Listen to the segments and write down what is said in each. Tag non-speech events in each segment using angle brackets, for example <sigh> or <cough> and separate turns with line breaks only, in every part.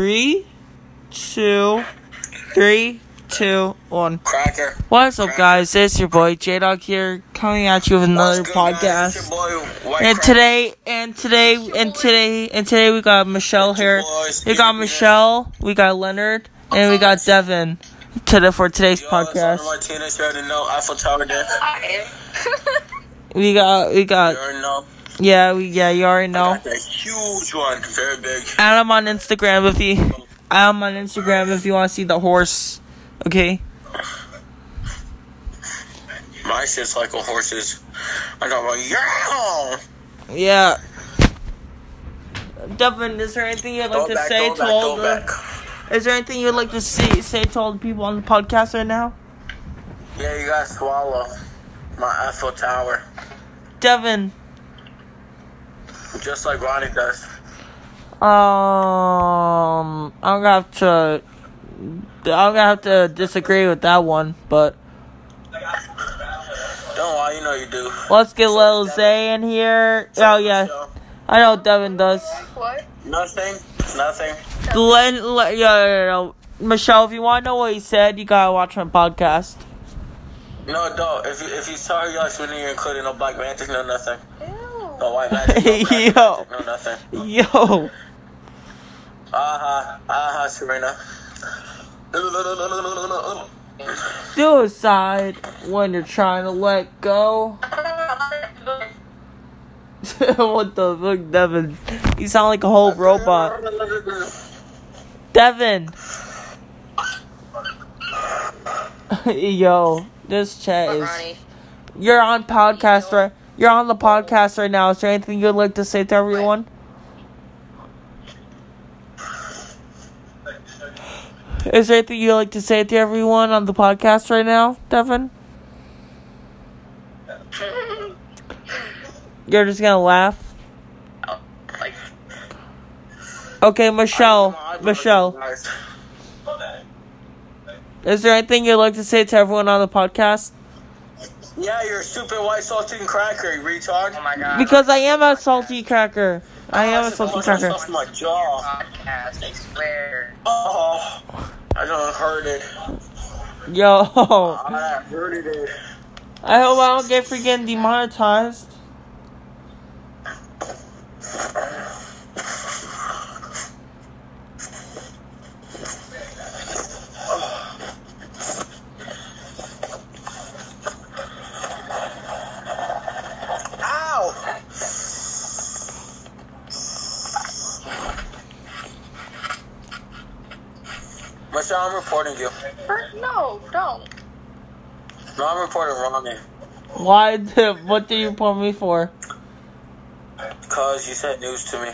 Three, two, three, two, one.
Cracker.
What's up, guys? It's your boy J Dog here, coming at you with another podcast. And today, and today, and today, and today, we got Michelle here. We got Michelle, we got Leonard, and we got Devin today for today's podcast.
Martinez, you already know. Eiffel Tower there.
I
We got, we
You
got,
already know.
yeah, we, yeah, you already know.
Got that huge one. Very big.
I'm on Instagram if you. I'm on Instagram if you want to see the horse. Okay.
My shit's like a horse's. I got one. Yeah!
Yeah. Devin, is there anything you'd like
Go
to
back,
say
go
to
back,
all
go
the?
back.
Is there anything you'd like to say say to all the people on the podcast right now?
Yeah, you gotta swallow my Eiffel Tower.
Devin,
Just like Ronnie does.
um, I'm gonna have to. I'm gonna have to disagree with that one, but
Don't lie, you know you do.
let's get Lil Zay in here. Oh yeah, I know Devin does.
What?
Nothing. Nothing.
Len, le- yeah, yeah, yeah. Michelle, if you want to know what he said, you gotta watch my podcast. <laughs>
No, don't. If you, if you saw her, you actually didn't include no black magic, no nothing.
Ew.
No white magic. No,
Yo.
black
<laughs>
magic, no nothing.
Yo,
Uh huh. Uh huh, Serena.
suicide when you're trying to let go. <laughs> what the fuck, Devin? You sound like a whole robot. Devin! <laughs> Yo, this chat is.
Ronnie.
You're on podcast right. You're on the podcast right now. Is there anything you'd like to say to everyone? Is there anything you'd like to say to everyone on the podcast right now, Devin? You're just gonna laugh.
Like,
Okay, Michelle. Michelle, is there anything you'd like to say to everyone on the podcast?
Yeah, you're a stupid white saltine cracker, you retard.
oh my god.
Because I am a salty cracker. I am a salty cracker.
Off my jaw.
podcast, I swear.
Oh, I don't hurt it.
Yo, <laughs>
I hurted it.
I hope I don't get freaking demonetized.
Ow! Michelle, I'm reporting you.
No, don't.
No, I'm reporting Ronnie.
Why? <laughs> Did, what did you pull me for?
Cause you said news to me.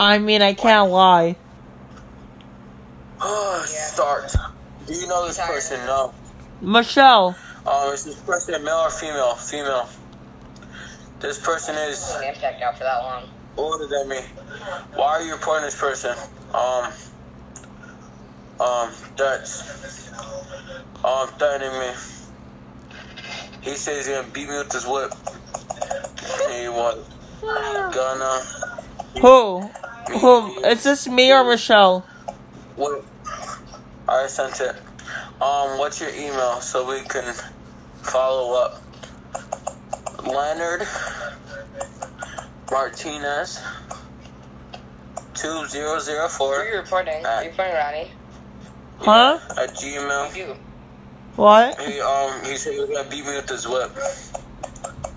I mean, I can't lie.
Oh,
Start. Do you know this person? No.
Michelle,
Um, is this person male or female? Female. This person is
I'm checked out for that long.
older than me. Why are you reporting this person? Um, um, that's, um, threatening me. He says he's gonna beat me with his whip. He was gonna
who?
beat me
Who? Is this me or Michelle?
What? I sent it. Um, what's your email so we can follow up? Leonard Martinez two zero zero
Who are
four
you reporting? Are you reporting Ronnie?
Huh?
at Gmail.
You.
What?
He um he said he was gonna beat me with his whip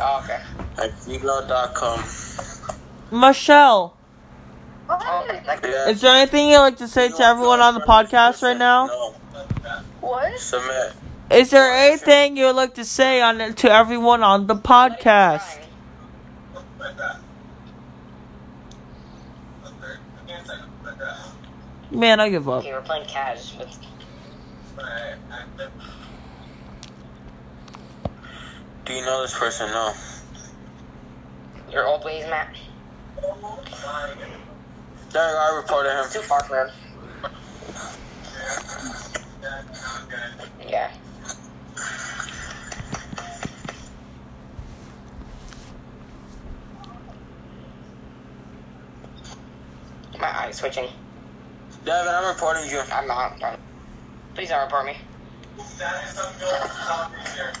Oh, okay.
at gmail.com.
Michelle,
Oh, like,
Yeah.
is there anything you'd like to say to everyone on the podcast right now?
No.
what?
Submit.
Is there anything you'd like to say on to everyone on the podcast? Man, I give up.
Okay, we're playing cash with.
Do you know this person? No.
Your old ways, Matt.
There, I reported
It's too
him.
far from him. Yeah. My eye's switching.
Devin, I'm reporting you.
I'm not. I'm- Please don't report me.
I'm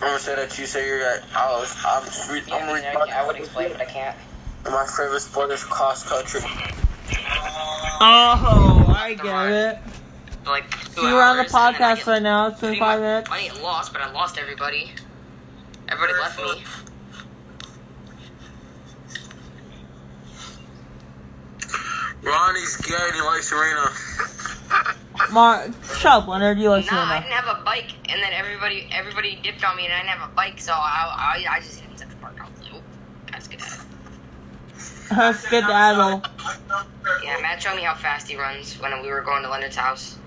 gonna say that you say you're at. I was, I'm, re-
You
I'm
know,
re-
I would explain, but I can't.
My favorite sport is cross country.
Oh, I get it.
But like,
So you're on the podcast right now. It's been five minutes.
I didn't lost, but I lost everybody. Everybody left me.
Ronnie's gay and he likes Serena.
Mar- Shut up, Leonard. You like
Nah, I
Serena.
didn't have a bike, and then everybody everybody dipped on me, and I didn't have a bike, so I I, I just hit the park. I was like, "Oop, that's good.
That's good to add, though.
Yeah, Matt showed me how fast he runs when we were going to Leonard's house.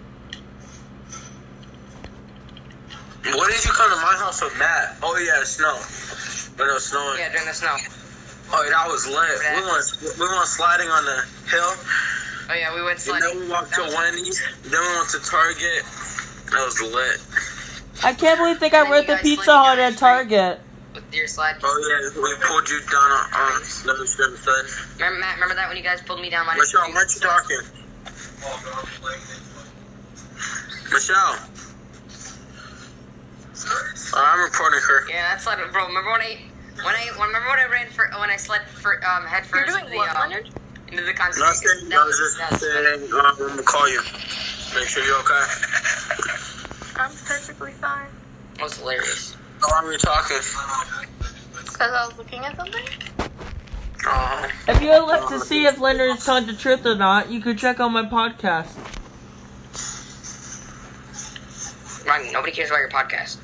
What did you come to my house with Matt? Oh yeah, it's snow. When it was snowing.
Yeah, during the snow.
Oh, that was lit. We went, we went sliding on the hill,
Oh yeah, we went
and
sledding.
then we walked to
That was-
Wendy's, then we went to Target. That was lit.
I can't believe they got rid of the Pizza Hut at Target.
with your sled.
Oh yeah, we pulled you down on, on another strip instead.
Remember Matt? Remember that when you guys pulled me down my
Michelle, what you talking? Michelle. Uh, I'm reporting her.
Yeah, that sled, bro. Remember when I when I when- remember when I ran for when I sled for um head first
doing
into the,
what,
um,
Leonard?
into the concrete.
Nothing. I was
that
just
was funny.
saying, uh, I'm gonna call you. Make sure you're okay.
I'm perfectly fine.
That was hilarious.
How long are we talking?
Because I was looking at something?
Uh,
If you would like to see if Leonard is telling the truth or not, you could check out my podcast.
Ron, nobody cares about your podcast.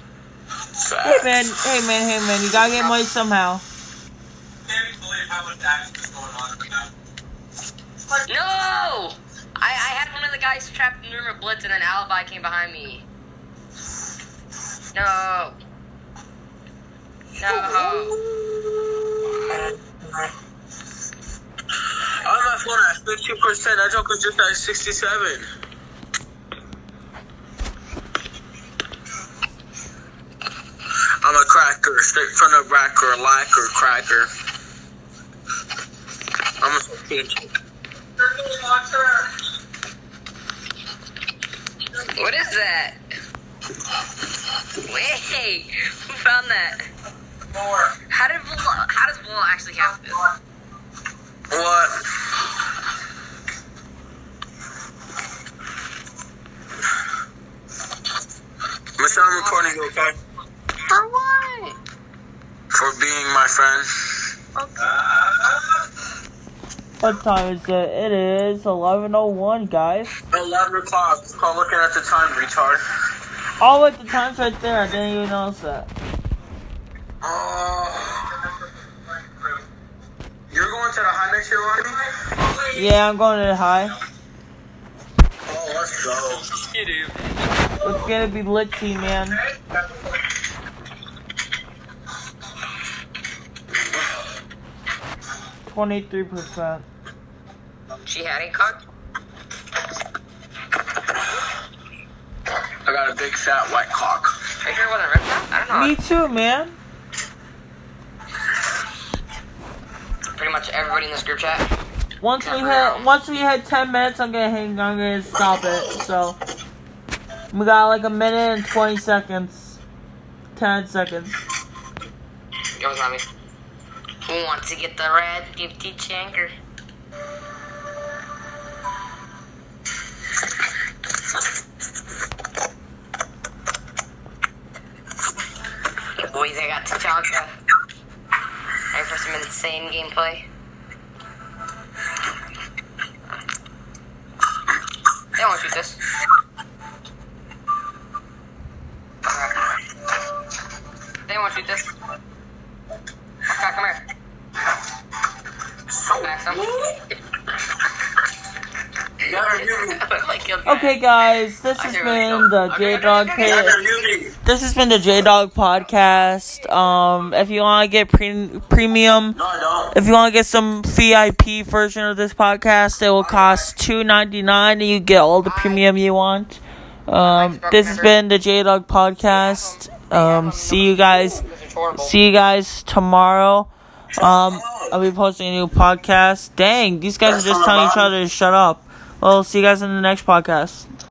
Hey
fat.
man, hey man, hey man, you gotta get money somehow.
No! I, I had one of the guys trapped in the room with Blitz, and then Alibi came behind me. No. No.
On my phone at 15%. That joke was just at 67. I'm a cracker, straight from the racker, lacquer, cracker. I'm a strategic.
What is that? Wait, who found that? How did Bull, how does Bull actually have this?
What? Michelle, I'm recording you, okay?
For what?
For being my friend.
What time is it? It is 11:01, guys.
11 o'clock. Call looking at the time, retard.
Oh, at the time's right there. I didn't even notice that.
Oh. You're going to the high next year, Ronnie?
Yeah, I'm going to the high.
Oh, let's go.
It's gonna be litzy, man. Twenty-three percent.
She had a cock?
I got a big fat white cock.
Are you sure it wasn't ripped out? I don't know.
Me too, man.
Pretty much everybody in this group chat.
Once we hit, once we hit ten minutes, I'm gonna hang. I'm gonna stop it. So we got like a minute and twenty seconds, ten seconds.
It was not me. Who wants to get the red gifty chanker? Hey, Boys, I got Tachanka. Ready for some insane gameplay? They won't shoot this. They won't shoot this. Come come here. Back some. <laughs>
Never knew me.
Like, you'll die.
Okay, guys, this has been the J Dog Pit.
Never knew me.
This has been the J Dog podcast. Um, if you want to get pre- premium.
No, I don't.
If you want to get some VIP version of this podcast, it will cost two ninety nine, and you get all the premium you want. Um, this has been the J Dog podcast. Um, see you guys.
It's horrible.
See you guys tomorrow. Um, I'll be posting a new podcast. Dang, these guys are just telling each other to shut up. Well, see you guys in the next podcast.